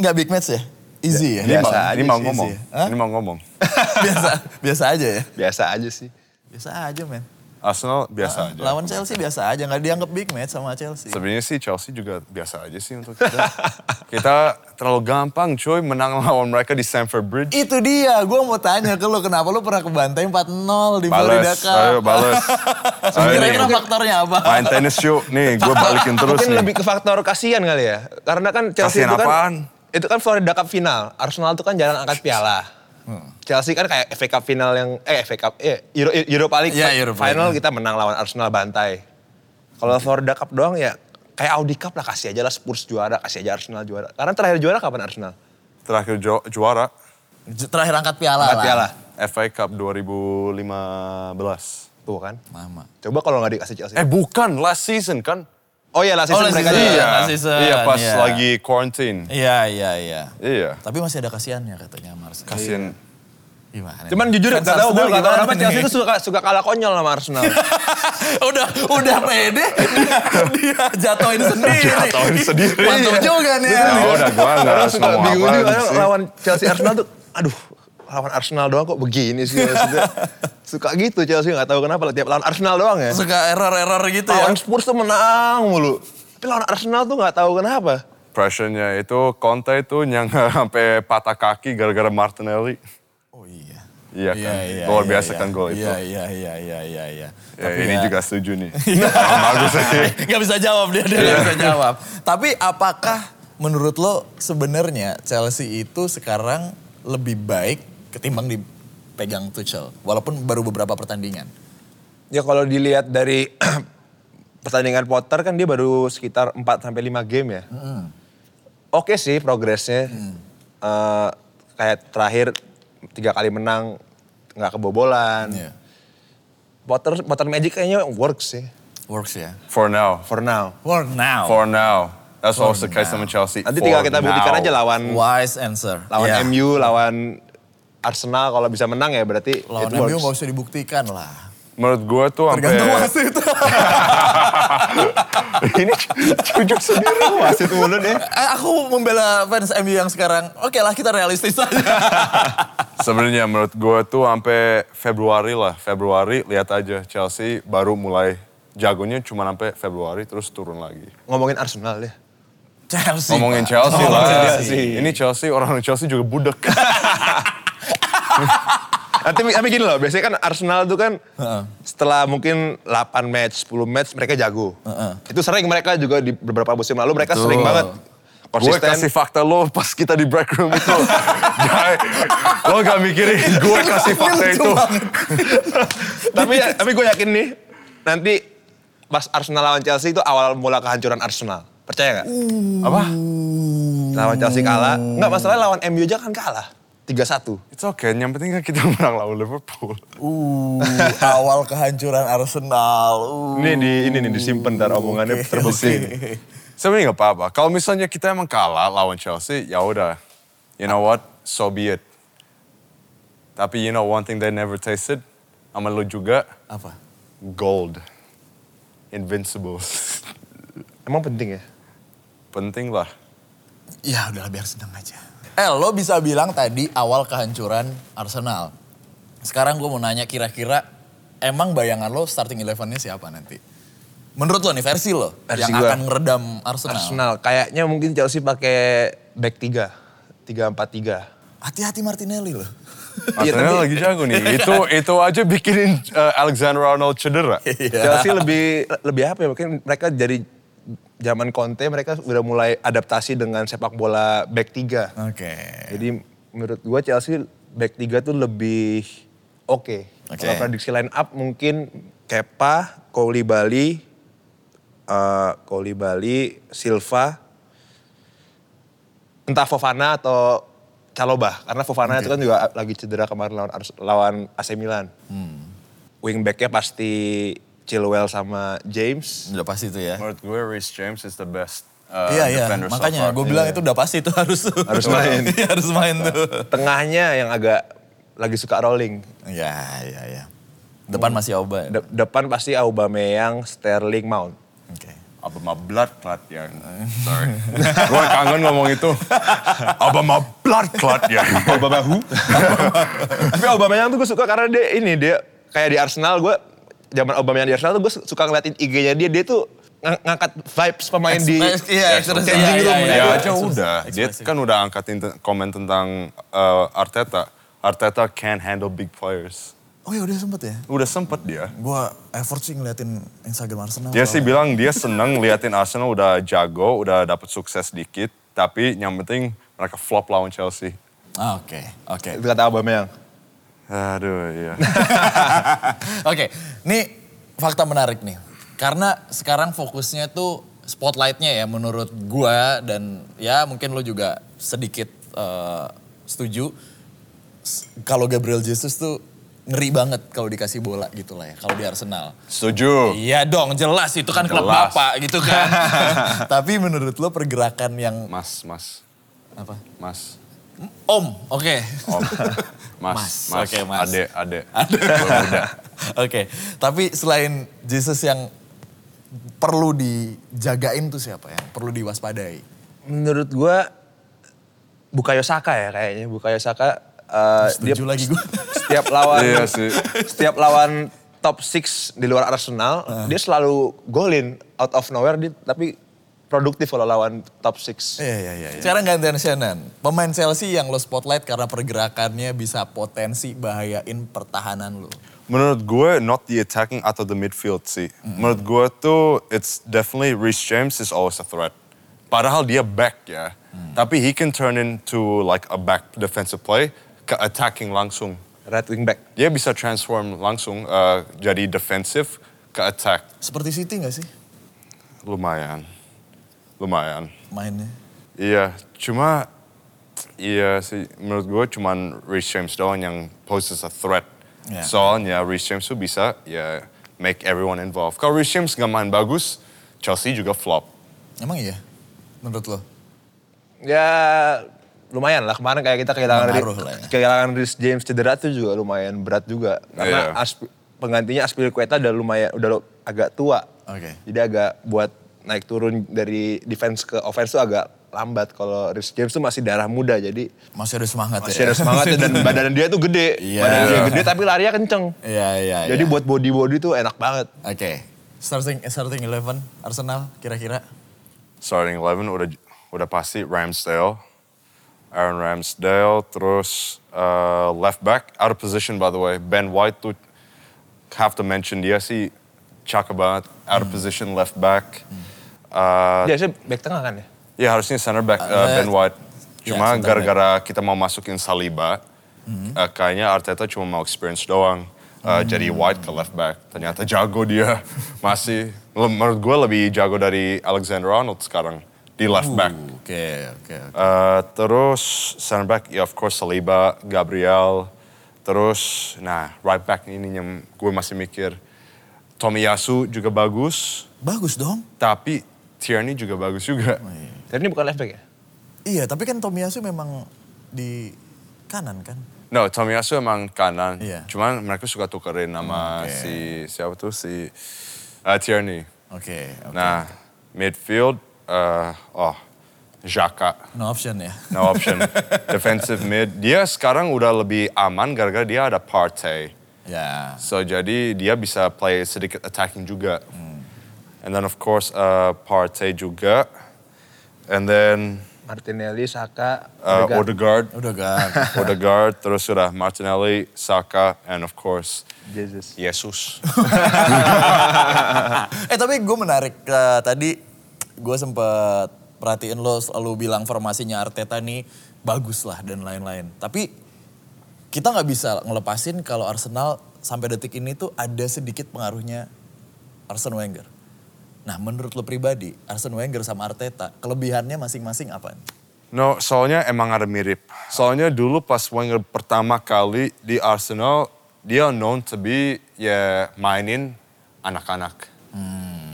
Speaker 1: Nggak big match ya? Easy ya?
Speaker 3: Ini mau,
Speaker 2: Biasa aja
Speaker 3: ini mau
Speaker 2: sih,
Speaker 3: ngomong.
Speaker 1: sih. ya. Hah?
Speaker 3: Ini mau ngomong.
Speaker 1: biasa, biasa aja ya?
Speaker 2: Biasa aja sih.
Speaker 1: Biasa aja, men.
Speaker 3: Arsenal biasa aja.
Speaker 1: Lawan Chelsea biasa aja, nggak dianggap big match sama Chelsea.
Speaker 3: Iya. Sebenarnya sih Chelsea juga biasa aja sih untuk kita. kita terlalu gampang coy menang lawan mereka di Stamford Bridge.
Speaker 1: Itu dia, gue mau tanya ke lo kenapa lo pernah kebantai 4-0 di Florida
Speaker 3: Bales,
Speaker 1: Cup.
Speaker 3: ayo bales. Ayo nih,
Speaker 1: Kira-kira faktornya apa?
Speaker 3: main tenis yuk. Nih gue balikin terus
Speaker 2: Mungkin
Speaker 3: nih.
Speaker 2: lebih ke faktor kasihan kali ya. Karena kan Chelsea
Speaker 3: Kasihan
Speaker 2: itu kan
Speaker 3: apaan?
Speaker 2: itu kan Florida Cup final. Arsenal itu kan jalan angkat piala. Chelsea kan kayak FA Cup final yang eh FA Cup eh Euro, Europa League
Speaker 1: Iya, Europa
Speaker 2: final
Speaker 1: League.
Speaker 2: kita menang lawan Arsenal bantai. Kalau Florida Cup doang ya kayak Audi Cup lah kasih aja lah Spurs juara, kasih aja Arsenal juara. Karena terakhir juara kapan Arsenal?
Speaker 3: terakhir ju- juara
Speaker 1: Ju- Terakhir angkat piala
Speaker 2: Angkat
Speaker 1: lah.
Speaker 2: piala.
Speaker 3: FA Cup 2015.
Speaker 2: Tuh kan.
Speaker 1: Lama.
Speaker 2: Coba kalau nggak dikasih Chelsea.
Speaker 3: Eh bukan, last season kan?
Speaker 2: Oh iya lah season
Speaker 1: last
Speaker 2: mereka
Speaker 1: season.
Speaker 2: juara.
Speaker 1: last season,
Speaker 3: iya pas
Speaker 1: iya.
Speaker 3: lagi quarantine.
Speaker 1: Iya, iya, iya.
Speaker 3: Iya.
Speaker 1: Tapi masih ada kasihannya katanya Mars.
Speaker 2: Iya.
Speaker 3: Kasian.
Speaker 1: Gimana?
Speaker 2: Cuman
Speaker 1: nih?
Speaker 2: jujur
Speaker 1: Fans
Speaker 2: gak tau gue
Speaker 1: Arsenal
Speaker 2: gak tau
Speaker 1: gimana
Speaker 2: kenapa
Speaker 1: nih?
Speaker 2: Chelsea itu suka, suka kalah konyol sama Arsenal.
Speaker 1: udah udah pede dia, dia jatuhin sendiri.
Speaker 3: Jatuhin sendiri.
Speaker 1: Mantap juga nih.
Speaker 3: Ya
Speaker 1: El.
Speaker 3: udah gua enggak
Speaker 2: Orang
Speaker 3: harus
Speaker 2: suka
Speaker 3: ngomong
Speaker 2: Iya. bingung juga
Speaker 3: apa
Speaker 2: kadang
Speaker 3: sih.
Speaker 2: lawan Chelsea Arsenal tuh, aduh lawan Arsenal doang kok begini sih. maksudnya. suka gitu Chelsea gak tahu kenapa lah, tiap lawan Arsenal doang ya.
Speaker 1: Suka error-error gitu ya.
Speaker 2: Lawan Spurs tuh menang mulu. Tapi lawan Arsenal tuh gak tahu kenapa.
Speaker 3: Pressure-nya itu Conte itu yang sampai patah kaki gara-gara Martinelli.
Speaker 1: Oh iya.
Speaker 3: Iya kan? Luar biasa kan gol itu.
Speaker 1: Iya, iya, iya, iya, iya. iya.
Speaker 3: Ya,
Speaker 1: Tapi
Speaker 3: ini
Speaker 1: ya-
Speaker 3: juga setuju nih. Sama aku sih. Iya.
Speaker 1: Gak bisa jawab dia, dia gak bisa jawab. Tapi apakah menurut lo sebenarnya Chelsea itu sekarang lebih baik ketimbang dipegang Tuchel? Walaupun baru beberapa pertandingan.
Speaker 2: Ya kalau dilihat dari pertandingan Potter kan dia baru sekitar 4 sampai 5 game ya. Oke sih progresnya. eh, kayak terakhir tiga kali menang nggak kebobolan.
Speaker 1: Iya.
Speaker 2: Potter Potter Magic kayaknya works sih
Speaker 1: Works ya.
Speaker 3: For now.
Speaker 2: for now.
Speaker 1: For now.
Speaker 3: For now. That's what was the case
Speaker 1: now.
Speaker 3: sama Chelsea.
Speaker 2: Nanti tinggal
Speaker 3: For
Speaker 2: kita buktikan
Speaker 3: now.
Speaker 2: aja lawan
Speaker 1: Wise answer.
Speaker 2: lawan
Speaker 1: Ya.
Speaker 2: MU, lawan Arsenal kalau bisa menang ya berarti
Speaker 1: Lawan
Speaker 2: it
Speaker 1: MU
Speaker 2: works.
Speaker 1: nggak usah dibuktikan lah.
Speaker 3: Menurut gue tuh
Speaker 1: Tergantung
Speaker 3: sampai
Speaker 1: wasit.
Speaker 2: Ini cucuk sendiri wasit mulu deh.
Speaker 1: Eh, Aku membela fans MU yang sekarang. Oke lah kita realistis aja.
Speaker 3: sebenarnya menurut gue tuh sampai Februari lah. Februari lihat aja Chelsea baru mulai jagonya cuma sampai Februari terus turun lagi.
Speaker 2: Ngomongin Arsenal deh.
Speaker 1: Chelsea.
Speaker 3: Ngomongin
Speaker 1: Pak.
Speaker 3: Chelsea
Speaker 1: Ngomongin
Speaker 3: lah.
Speaker 1: Chelsea.
Speaker 3: Ini Chelsea orang Chelsea juga budek.
Speaker 2: Ah, Tapi, tapi gini loh, biasanya kan Arsenal tuh kan setelah mungkin 8 match, 10 match mereka jago. Itu sering mereka juga di beberapa musim lalu mereka
Speaker 3: Betul.
Speaker 2: sering banget
Speaker 3: Gue
Speaker 2: konsisten.
Speaker 3: kasih fakta lo pas kita di break room itu. Jai, lo gak mikirin gue kasih
Speaker 1: Ini
Speaker 3: fakta
Speaker 1: lucu
Speaker 3: itu.
Speaker 1: banget.
Speaker 2: tapi ya, tapi gue yakin nih nanti pas Arsenal lawan Chelsea itu awal mula kehancuran Arsenal. Percaya nggak?
Speaker 3: Apa?
Speaker 2: Lawan Chelsea kalah. Nggak masalah lawan MU aja kan kalah. 3-1.
Speaker 3: It's okay, yang penting kan kita menang lawan Liverpool.
Speaker 1: Uh, awal kehancuran Arsenal. Uh.
Speaker 2: Ini di ini nih disimpan ntar omongannya
Speaker 1: Oke,
Speaker 2: terbukti.
Speaker 1: oke.
Speaker 3: Sebenarnya gak apa-apa. Kalau misalnya kita emang kalah lawan Chelsea, ya udah. You know what? So be it. Tapi you know one thing they never tasted? Sama lo juga,
Speaker 1: Apa?
Speaker 3: gold. Invincibles.
Speaker 2: Emang penting ya?
Speaker 3: Penting lah.
Speaker 1: Ya udahlah biar senang aja. El, Eh, lo bisa bilang tadi awal kehancuran Arsenal. Sekarang gue mau nanya kira-kira emang bayangan lo starting elevennya siapa nanti? Menurut lo nih versi lo
Speaker 2: Versi
Speaker 1: yang
Speaker 2: gua.
Speaker 1: akan ngeredam Arsenal.
Speaker 2: Arsenal. Kayaknya mungkin Chelsea pakai back 3. 3-4-3.
Speaker 1: Hati-hati Martinelli lo.
Speaker 2: Iya,
Speaker 3: Arsenal
Speaker 2: tapi-
Speaker 3: lagi jago nih. itu itu aja bikinin uh, Alexander Arnold cedera.
Speaker 2: Chelsea lebih lebih apa ya? Mungkin mereka dari zaman Conte mereka udah mulai adaptasi dengan sepak bola back 3.
Speaker 1: Oke.
Speaker 2: Jadi menurut gua Chelsea back 3 tuh lebih oke.
Speaker 1: Oke.
Speaker 2: Kalau prediksi line up mungkin Kepa, Koulibaly, eh Koulibaly, Silva, entah Fofana atau Caloba karena Fofana itu kan juga lagi cedera kemarin lawan Ars- lawan AC Milan. Hmm. Wingbacknya pasti Chilwell sama James.
Speaker 1: Udah pasti itu ya.
Speaker 3: Menurut gue Reece James is the best uh,
Speaker 1: Iya iya.
Speaker 3: defender so
Speaker 1: Makanya
Speaker 3: far.
Speaker 1: gue bilang itu udah pasti itu harus
Speaker 2: Harus main.
Speaker 1: Iya, harus main tuh.
Speaker 2: Tengahnya yang agak lagi suka rolling.
Speaker 1: Iya iya iya. Depan masih ya? Aubameyang.
Speaker 2: De- depan pasti Aubameyang, Sterling, Mount.
Speaker 1: Oke.
Speaker 3: Iya. Apa my blood clot ya? Sorry. gue kangen ngomong itu. Apa my blood clot ya?
Speaker 2: Aubameyang. Tapi Aubameyang tuh gue suka karena dia ini dia kayak di Arsenal gue zaman Aubameyang di Arsenal tuh gue suka ngeliatin IG-nya dia dia tuh ng- ngangkat vibes pemain di gitu.
Speaker 1: Ekspres- iya, ekspres-
Speaker 2: changing
Speaker 1: iya, iya, iya.
Speaker 2: room.
Speaker 3: ya
Speaker 1: Ya,
Speaker 3: aja
Speaker 1: ekspres-
Speaker 3: udah. Dia
Speaker 1: ekspresi.
Speaker 3: kan udah angkat int- komen tentang uh, Arteta. Arteta can handle big players.
Speaker 1: Oh ya udah sempet ya.
Speaker 3: Udah sempet dia.
Speaker 1: Gue effort sih ngeliatin Instagram Arsenal.
Speaker 3: Dia Iya sih bilang dia seneng liatin Arsenal udah jago, udah dapet sukses dikit. Tapi yang penting mereka flop lawan Chelsea.
Speaker 1: Ah, Oke, oke.
Speaker 2: Itu kata Aubameyang.
Speaker 3: Aduh, iya.
Speaker 1: Oke, ini fakta menarik nih. Karena sekarang fokusnya tuh spotlightnya ya menurut gua dan ya mungkin lo juga sedikit eh, setuju. S- Kalau Gabriel Jesus tuh ngeri banget kalau dikasih bola gitu lah ya, kalau di Arsenal.
Speaker 3: Setuju.
Speaker 1: Iya dong, jelas itu kan klub
Speaker 3: Jelas.
Speaker 1: bapak gitu kan. Tapi menurut lo pergerakan yang
Speaker 3: Mas, mas,
Speaker 1: apa?
Speaker 3: mas.
Speaker 1: Om, oke.
Speaker 3: Om. Oh, Mas,
Speaker 1: Mas,
Speaker 3: mas,
Speaker 1: oke, mas.
Speaker 3: Ade, ade.
Speaker 1: Ada. Ya Oke, tapi selain Jesus yang perlu dijagain tuh siapa ya? Perlu diwaspadai.
Speaker 2: Menurut gue Bukayo Saka ya kayaknya. Bukayo Saka eh, dia
Speaker 1: Setuju lagi gue.
Speaker 2: setiap lawan
Speaker 3: Iya sih.
Speaker 2: setiap lawan top 6 di luar Arsenal
Speaker 1: Ah.
Speaker 2: dia selalu golin out of nowhere dia, tapi produktif kalau lawan top 6.
Speaker 1: Iya, iya, iya. Sekarang gantian Shannon. Pemain Chelsea yang lo spotlight karena pergerakannya bisa potensi bahayain pertahanan lo.
Speaker 3: Menurut gue, not the attacking atau the midfield sih. Menurut gue tuh, it's definitely Reece James is always a threat. Padahal dia back ya. Tapi he can turn into like a back defensive play ke attacking langsung.
Speaker 2: Right wing back.
Speaker 3: Dia bisa transform langsung uh, jadi defensive ke attack.
Speaker 1: Seperti City gak sih
Speaker 3: Lumayan. Lumayan.
Speaker 1: mainnya?
Speaker 3: Iya, cuma Iya sih, menurut gue cuman Rich James doang yang poses a threat.
Speaker 1: Iya.
Speaker 3: Soalnya Rich James tuh bisa ya make everyone involved. Kalau Rich James nggak main bagus, Chelsea juga flop.
Speaker 1: Emang iya? Menurut lo?
Speaker 2: Ya lumayan lah kemarin kayak kita kehilangan
Speaker 1: Pengaruh lah ya.
Speaker 2: kehilangan Rhys James cedera tuh juga lumayan berat juga karena
Speaker 3: Iya.
Speaker 2: Asp- penggantinya Aspilicueta udah lumayan udah lo- agak tua.
Speaker 1: Oke.
Speaker 2: Jadi agak buat naik turun dari defense ke offense tuh agak lambat kalau Rhys James tuh masih darah muda jadi
Speaker 1: Masih ada semangat ya?
Speaker 2: masih ada semangatnya dan badan dia tuh gede.
Speaker 1: Iya.
Speaker 2: Badan dia gede tapi larinya kenceng.
Speaker 1: Iya, iya,
Speaker 2: Jadi
Speaker 1: iya.
Speaker 2: buat body-body tuh enak banget.
Speaker 1: Oke. Starting starting 11 Arsenal kira-kira.
Speaker 3: Starting 11 udah udah pasti Ramsdale. Aaron Ramsdale, terus uh, left back, out of position by the way. Ben White tuh have to mention dia sih cakep banget, out of position left back. Uh,
Speaker 2: Dia sih back tengah kan ya?
Speaker 3: Ya harusnya center back uh,
Speaker 1: Eh,
Speaker 3: Ben White.
Speaker 1: ya, center back.
Speaker 3: Cuma
Speaker 1: Mhm.
Speaker 3: gara-gara kita mau masukin Saliba, eh, kayaknya Arteta cuma mau experience doang. Eh,
Speaker 1: Hmm.
Speaker 3: Jadi White ke left back. Ternyata jago dia masih. Lem- Menurut gue lebih jago dari Alexander Arnold sekarang di left back.
Speaker 1: Uh, Oke, oke, oke.
Speaker 3: Eh, terus center back, ya of course Saliba, Gabriel. Terus, nah right back ini yang gue masih mikir. Tomiyasu juga bagus,
Speaker 1: Bagus dong.
Speaker 3: tapi Tierney juga bagus juga.
Speaker 1: Oh,
Speaker 2: Tapi ini bukan left back ya?
Speaker 1: Iya, tapi kan Tomiyasu memang di kanan kan?
Speaker 3: No, Tomiyasu emang kanan.
Speaker 1: Iya. Hmm,
Speaker 3: Cuman mereka suka tukerin nama
Speaker 1: Oke.
Speaker 3: si siapa tuh si uh, Tierney.
Speaker 1: Oke, oke.
Speaker 3: Nah, midfield uh, oh Jaka.
Speaker 1: No option ya.
Speaker 3: No option. Defensive mid. Dia sekarang udah lebih aman gara-gara dia ada Partey.
Speaker 1: Ya.
Speaker 3: So jadi dia bisa play sedikit attacking juga.
Speaker 1: Hmm.
Speaker 3: And then of course uh, Partey juga. And then
Speaker 2: Martinelli, Saka,
Speaker 3: uh,
Speaker 2: Odegaard.
Speaker 3: Odegaard.
Speaker 1: Udah kan.
Speaker 3: Odegaard, terus sudah Martinelli, Saka, and of course
Speaker 2: Jesus.
Speaker 3: Yesus.
Speaker 1: eh tapi gue menarik eh, tadi gue sempet perhatiin lo selalu bilang formasinya Arteta nih bagus lah dan lain-lain. Tapi kita nggak bisa ngelepasin kalau Arsenal sampai detik ini tuh ada sedikit pengaruhnya Arsene Wenger. Nah menurut lo pribadi Arsene Wenger sama Arteta kelebihannya masing-masing apa?
Speaker 3: No, soalnya emang ada mirip. Soalnya dulu pas Wenger pertama kali di Arsenal, dia known to be ya mainin anak-anak.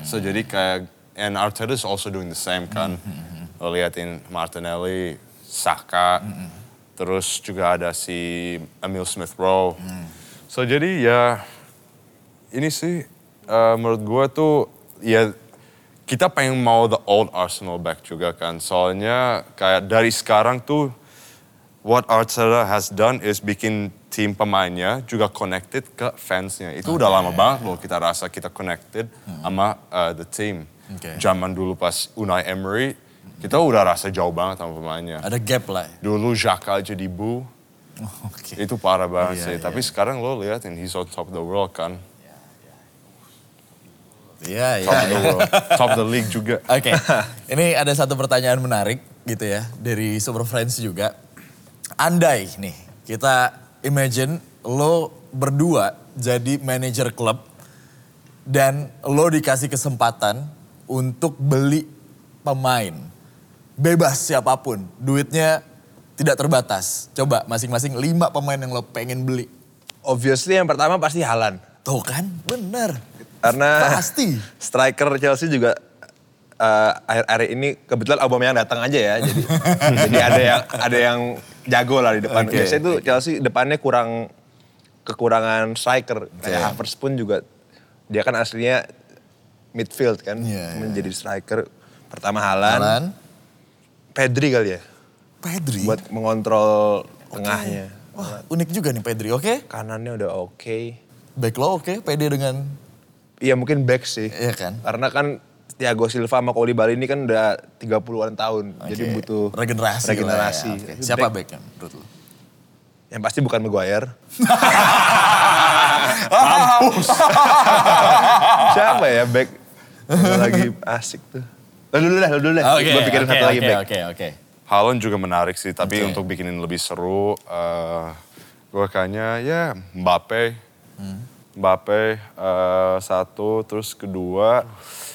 Speaker 3: So jadi kayak and Arteta is also doing the same kan. Lo liatin Martinelli, Saka, terus juga ada si Emil Smith Rowe. So jadi ya ini sih eh, menurut gue tuh ya kita pengen mau the old Arsenal back juga kan. Soalnya kayak dari sekarang tuh what Arteta has done is bikin tim pemainnya juga connected ke fansnya. Itu udah lama banget loh kita rasa kita connected sama eh, the team.
Speaker 1: Hmm. Oke.
Speaker 3: Zaman dulu pas Unai Emery kita udah rasa jauh banget sama pemainnya.
Speaker 1: Ada gap lah. ya.
Speaker 3: Dulu Xhaka jadi bu,
Speaker 1: Oke.
Speaker 3: itu parah
Speaker 1: Iya,
Speaker 3: banget sih.
Speaker 1: iya.
Speaker 3: Tapi sekarang lo liatin he's on top of the world kan.
Speaker 1: Iya iya.
Speaker 3: top of the
Speaker 1: iya.
Speaker 3: world, top of the league juga.
Speaker 1: Oke, ini ada satu pertanyaan menarik gitu ya dari Super Friends juga. Andai nih kita imagine lo berdua jadi manajer klub dan lo dikasih kesempatan untuk beli pemain bebas siapapun, duitnya tidak terbatas. Coba masing-masing lima pemain yang lo pengen beli.
Speaker 2: Obviously yang pertama pasti Halan.
Speaker 1: Tuh kan, bener.
Speaker 2: Karena
Speaker 1: Pasti.
Speaker 2: striker Chelsea juga eh, akhir-akhir ini kebetulan Aubameyang datang aja ya. Jadi jadi ada yang ada yang jago lah di depan.
Speaker 1: Oke.
Speaker 2: Biasanya tuh Chelsea depannya kurang kekurangan striker. Kayak Havertz pun juga dia kan aslinya midfield kan
Speaker 1: Iya, iya.
Speaker 2: menjadi striker pertama Halan,
Speaker 1: Alan,
Speaker 2: Pedri kali ya
Speaker 1: Pedri.
Speaker 2: buat mengontrol
Speaker 1: Nah,
Speaker 2: tengahnya.
Speaker 1: iya. Wah, unik juga nih Pedri, oke?
Speaker 2: Kanannya udah oke.
Speaker 1: Back lo oke, pede dengan
Speaker 2: Iya mungkin back sih.
Speaker 1: Iya kan?
Speaker 2: Karena kan Thiago Silva sama Koulibaly ini kan udah 30-an tahun. Jadi
Speaker 1: Oke,
Speaker 2: butuh
Speaker 1: regenerasi. lah ya,
Speaker 2: regenerasi.
Speaker 1: oke. Siapa
Speaker 2: Back-
Speaker 1: backnya menurut lo?
Speaker 2: Yang pasti bukan Maguire. Siapa ya back? Yang lagi asik tuh. Lo dulu deh, lo dulu deh. Gue pikirin satu lagi back.
Speaker 1: Oke, oke.
Speaker 3: Haaland juga menarik sih, tapi
Speaker 1: Oke.
Speaker 3: untuk bikinin lebih seru, eh gue kayaknya ya Mbappe, Hmm. Mbappe eh, satu, terus kedua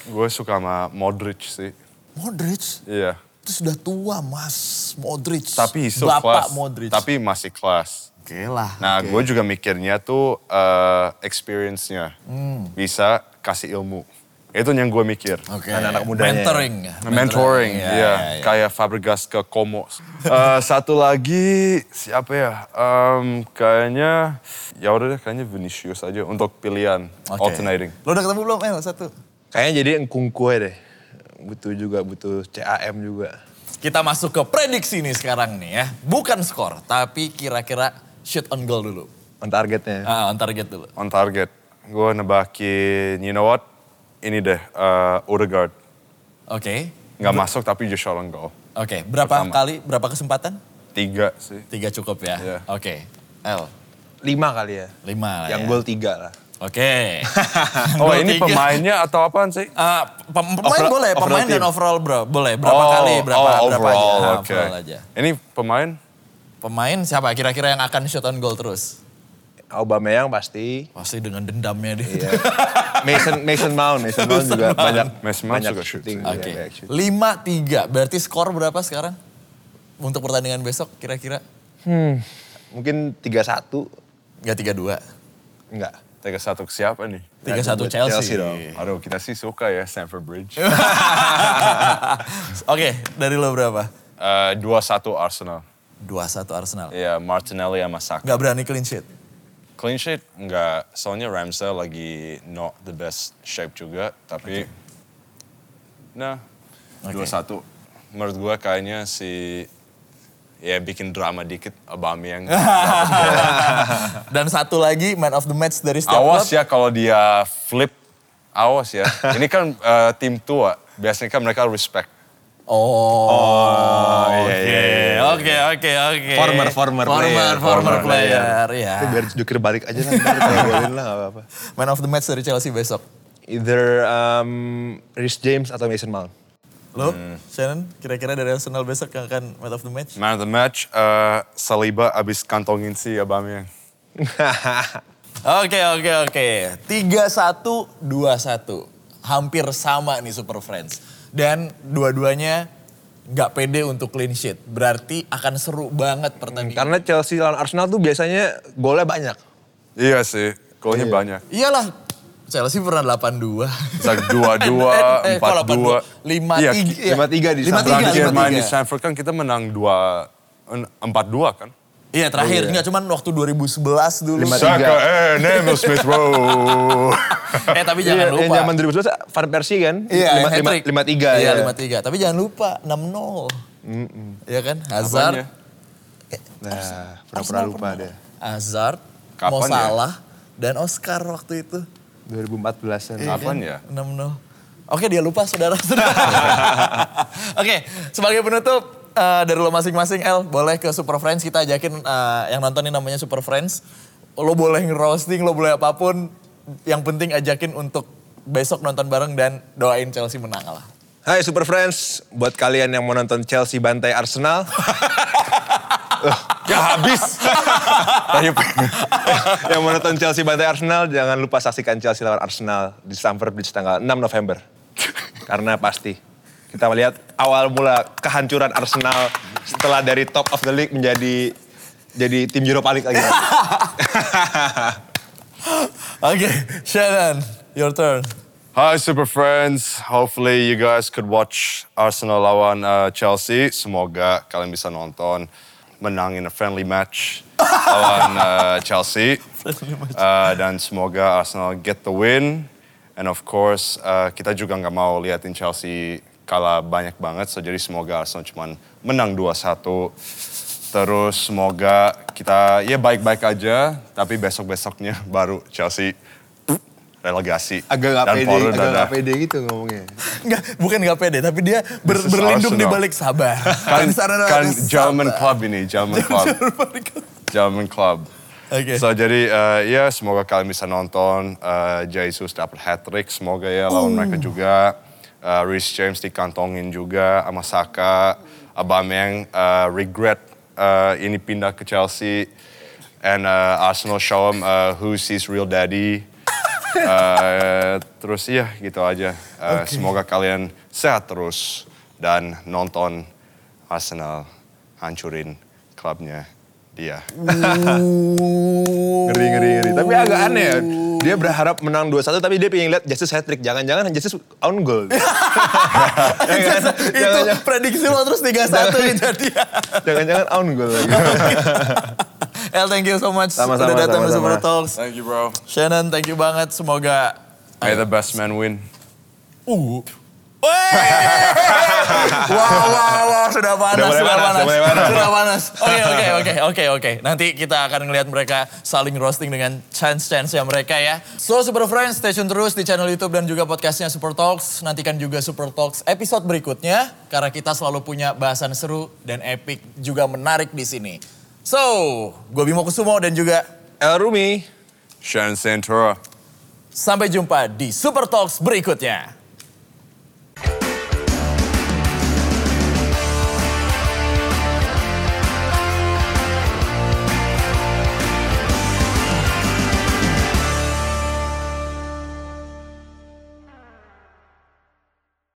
Speaker 3: gue suka sama Modric sih,
Speaker 1: Modric,
Speaker 3: iya.
Speaker 1: Itu sudah tua Mas Modric.
Speaker 3: Tapi he's so
Speaker 1: Bapak
Speaker 3: class.
Speaker 1: Modric.
Speaker 3: Tapi masih kelas.
Speaker 1: Oke lah.
Speaker 3: Nah,
Speaker 1: oke.
Speaker 3: gue juga mikirnya tuh eh, experience-nya bisa kasih ilmu. Itu yang gue mikir.
Speaker 1: Oke.
Speaker 2: anak-anak ya. mudanya.
Speaker 1: Mentoring.
Speaker 3: Mentoring,
Speaker 1: ya,
Speaker 2: iya.
Speaker 3: ya.
Speaker 1: ya, ya.
Speaker 3: Kayak Fabregas ke Como. Eh, satu lagi siapa ya? Em, kayaknya ya udah deh, kayaknya Vinicius aja untuk pilihan
Speaker 1: Oke.
Speaker 3: alternating.
Speaker 1: Lo udah ketemu belum El satu?
Speaker 2: Kayaknya jadi engkung kue deh. Butuh juga, butuh CAM juga.
Speaker 1: Kita masuk ke prediksi nih sekarang nih ya. Bukan skor, tapi kira-kira shoot on goal dulu.
Speaker 2: On
Speaker 3: Ya.
Speaker 2: targetnya.
Speaker 1: Ah, on target dulu.
Speaker 3: On target. Gue nebakin, you know what? Ini deh, eh, Odegaard.
Speaker 1: Oke.
Speaker 3: Nggak masuk tapi just shot on goal.
Speaker 1: Oke, berapa
Speaker 3: Pertama.
Speaker 1: kali, berapa kesempatan?
Speaker 3: Tiga sih.
Speaker 1: Tiga cukup ya.
Speaker 3: Iya.
Speaker 1: Oke. El,
Speaker 2: Lima kali ya.
Speaker 1: lima lah
Speaker 2: Yang
Speaker 1: ya.
Speaker 2: gol tiga lah.
Speaker 1: Oke.
Speaker 3: Oh
Speaker 1: Gol
Speaker 3: ini
Speaker 1: tiga.
Speaker 3: pemainnya atau apaan sih?
Speaker 1: Ah, pem- pemain
Speaker 3: Overall-
Speaker 1: boleh,
Speaker 3: overall
Speaker 1: pemain dan
Speaker 3: team.
Speaker 1: overall bro, boleh. Berapa
Speaker 3: Oh,
Speaker 1: kali, berapa,
Speaker 3: oh,
Speaker 1: berapa aja.
Speaker 3: overall,
Speaker 1: Ah,
Speaker 3: oke.
Speaker 1: overall aja.
Speaker 3: Ini pemain?
Speaker 1: Pemain siapa kira-kira yang akan shoot on goal terus?
Speaker 2: Aubameyang pasti.
Speaker 1: Pasti dengan dendamnya dia.
Speaker 2: Iya. Mason Mason Mount, Mason Mount juga banyak
Speaker 3: Mason Mount
Speaker 2: banyak
Speaker 3: juga shoot.
Speaker 2: shooting,
Speaker 1: Oke.
Speaker 2: iya, banyak shooting.
Speaker 1: Lima tiga. Berarti skor berapa sekarang? Untuk pertandingan besok kira-kira?
Speaker 2: Mungkin 3-1
Speaker 1: Gak tiga dua.
Speaker 2: enggak.
Speaker 3: Tiga satu ke siapa nih?
Speaker 1: Tiga satu
Speaker 2: Chelsea
Speaker 1: Chelsea.
Speaker 2: dong.
Speaker 3: Aduh kita sih suka ya Stamford Bridge.
Speaker 1: Oke, dari lo berapa?
Speaker 3: Eh, Dua satu Arsenal.
Speaker 1: Dua satu Arsenal.
Speaker 3: Iya Martinelli sama Saka.
Speaker 1: Gak berani clean sheet.
Speaker 3: Clean sheet nggak, soalnya Ramsdale lagi not the best shape juga, tapi nah
Speaker 1: Oke.
Speaker 3: dua satu. Menurut gue kayaknya si ya bikin drama dikit Aubameyang.
Speaker 1: Dan satu lagi man of the match dari setiap
Speaker 3: Awas
Speaker 1: klub.
Speaker 3: ya kalau dia flip, awas ya. Ini kan eh, tim tua, biasanya kan mereka respect.
Speaker 1: Oh.
Speaker 3: iya, iya, iya.
Speaker 1: Oke, oke, oke.
Speaker 2: Former, former
Speaker 1: former,
Speaker 2: player.
Speaker 1: Former
Speaker 2: Former
Speaker 1: player, ya.
Speaker 2: Itu biar jukir balik aja lah, ntar kalau golin lah nggak apa-apa.
Speaker 1: Man of the match dari Chelsea besok.
Speaker 2: Either um, Rhys James atau Mason Mount.
Speaker 1: Lo, Shannon, kira-kira dari Arsenal besok yang akan man of the match?
Speaker 3: Man of the match, eh, Saliba abis kantongin si Aubameyang.
Speaker 1: Oke, oke, oke. 3-1, 2-1. Hampir sama nih Super Friends. Dan dua-duanya nggak pede untuk clean sheet. Berarti akan seru banget pertandingan.
Speaker 2: Karena Chelsea lawan Arsenal tuh biasanya golnya banyak.
Speaker 3: Iya sih, golnya banyak.
Speaker 1: Iyalah, Chelsea pernah 8-2.
Speaker 3: Bisa dua-dua,
Speaker 1: Eh, eh, kok 8-2? 5-3.
Speaker 3: 4-2. Iya,
Speaker 2: 5-3 di
Speaker 1: Lima
Speaker 2: Tiga, Stamford.
Speaker 3: Terakhir main di
Speaker 1: 3
Speaker 3: Stanford kan kita menang dua, en- 4-2 kan?
Speaker 1: Iya terakhir,
Speaker 2: Iya.
Speaker 1: nggak cuman waktu 2011 dulu.
Speaker 2: Lima- 4-3.
Speaker 3: Saka, eh, Nemo Smith Rowe.
Speaker 1: eh tapi jangan
Speaker 2: Iya,
Speaker 1: lupa.
Speaker 2: Yang zaman 2012 Van Persie kan?
Speaker 1: Iya,
Speaker 2: Lima- lima-
Speaker 1: hat-trick.
Speaker 2: lima tiga
Speaker 1: Iya,
Speaker 2: ya.
Speaker 1: 53. Tapi jangan lupa 6-0. Iya kan? Hazard. Eh,
Speaker 2: Nah,
Speaker 3: Apanya?
Speaker 2: pura-pura
Speaker 1: Arsenal
Speaker 2: lupa
Speaker 1: pernah.
Speaker 2: deh.
Speaker 1: Hazard,
Speaker 3: Kapan
Speaker 1: mau
Speaker 3: ya?
Speaker 1: salah dan Oscar waktu itu.
Speaker 2: 2014 an
Speaker 1: Iya
Speaker 3: Kapan ya?
Speaker 1: 6-0. Oke, dia lupa saudara-saudara. Oke, sebagai penutup eh, dari lo masing-masing El, boleh ke Super Friends kita ajakin eh, yang nonton ini namanya Super Friends. Lo boleh ngerosting, lo boleh apapun. Yang penting ajakin untuk besok nonton bareng dan doain Chelsea menang lah.
Speaker 2: Hai Super Friends, buat kalian yang mau nonton Chelsea bantai Arsenal,
Speaker 3: Ya habis.
Speaker 2: yang mau nonton Chelsea bantai Arsenal, jangan lupa saksikan Chelsea lawan Arsenal di Stamford Bridge tanggal 6 November. Karena pasti kita melihat awal mula kehancuran Arsenal setelah dari top of the league menjadi jadi tim Europa League lagi.
Speaker 1: Oke, Shannon, your turn.
Speaker 3: Hi, super friends. Hopefully you guys could watch Arsenal lawan uh, Chelsea. Semoga kalian bisa nonton menang in a friendly match lawan uh, Chelsea. Uh, dan semoga Arsenal get the win. And of course, uh, kita juga nggak mau liatin Chelsea kalah banyak banget. So jadi semoga Arsenal cuman menang 2-1. Terus semoga kita ya baik-baik aja. Tapi besok-besoknya baru Chelsea relegasi.
Speaker 2: Agak nggak
Speaker 3: Dan
Speaker 2: pede,
Speaker 3: Paul
Speaker 2: agak
Speaker 3: udah-
Speaker 2: nggak pede gitu ngomongnya.
Speaker 1: Nggak, bukan nggak pede, tapi dia ber-
Speaker 3: This is
Speaker 1: berlindung di
Speaker 3: Arsenal.
Speaker 1: balik sabar.
Speaker 3: Kan,
Speaker 1: Di sana
Speaker 3: kan
Speaker 1: ada
Speaker 3: German
Speaker 1: sabar.
Speaker 3: Club ini, German Club.
Speaker 1: German Club.
Speaker 3: German Club.
Speaker 1: Oke.
Speaker 3: So jadi eh, ya semoga kalian bisa nonton eh, Jesus dapat hat trick semoga ya lawan mereka juga. Eh, Reece James dikantongin juga sama Saka. Aubameyang eh, regret eh, ini pindah ke Chelsea. And eh, Arsenal show him eh, who sees real daddy. Eh, terus ya gitu aja. Eh, Semoga kalian sehat terus dan nonton Arsenal hancurin klubnya dia.
Speaker 2: Ngeri, ngeri, ngeri. Tapi agak aneh ya. Dia berharap menang 2-1 tapi dia pengen lihat Justice hat-trick. Jangan-jangan Justice own goal. Jangan-
Speaker 1: itu
Speaker 2: jangan-
Speaker 1: prediksi lo terus 3-1 nih jadi.
Speaker 2: Jangan-jangan own goal lagi.
Speaker 1: El, thank you so much
Speaker 2: Sama-sama,
Speaker 1: udah datang di
Speaker 2: sama-sama.
Speaker 1: Super Talks.
Speaker 3: Thank you bro.
Speaker 1: Shannon, thank you banget. Semoga
Speaker 3: May the best man win.
Speaker 1: Uh. wow, wow, wow, sudah panas,
Speaker 2: Udah
Speaker 1: sudah panas,
Speaker 2: mulai panas, udah mulai panas.
Speaker 1: sudah panas. Oke, oke, oke, oke, oke. Nanti kita akan ngelihat mereka saling roasting dengan chance-chance yang mereka ya. So, Super Friends, stay tune terus di channel YouTube dan juga podcastnya Super Talks. Nantikan juga Super Talks episode berikutnya karena kita selalu punya bahasan seru dan epic juga menarik di sini. So, gue Bimo Kusumo dan juga
Speaker 2: El Eh, Rumi.
Speaker 3: Shannon Santora.
Speaker 1: sampai jumpa di Super Talks berikutnya.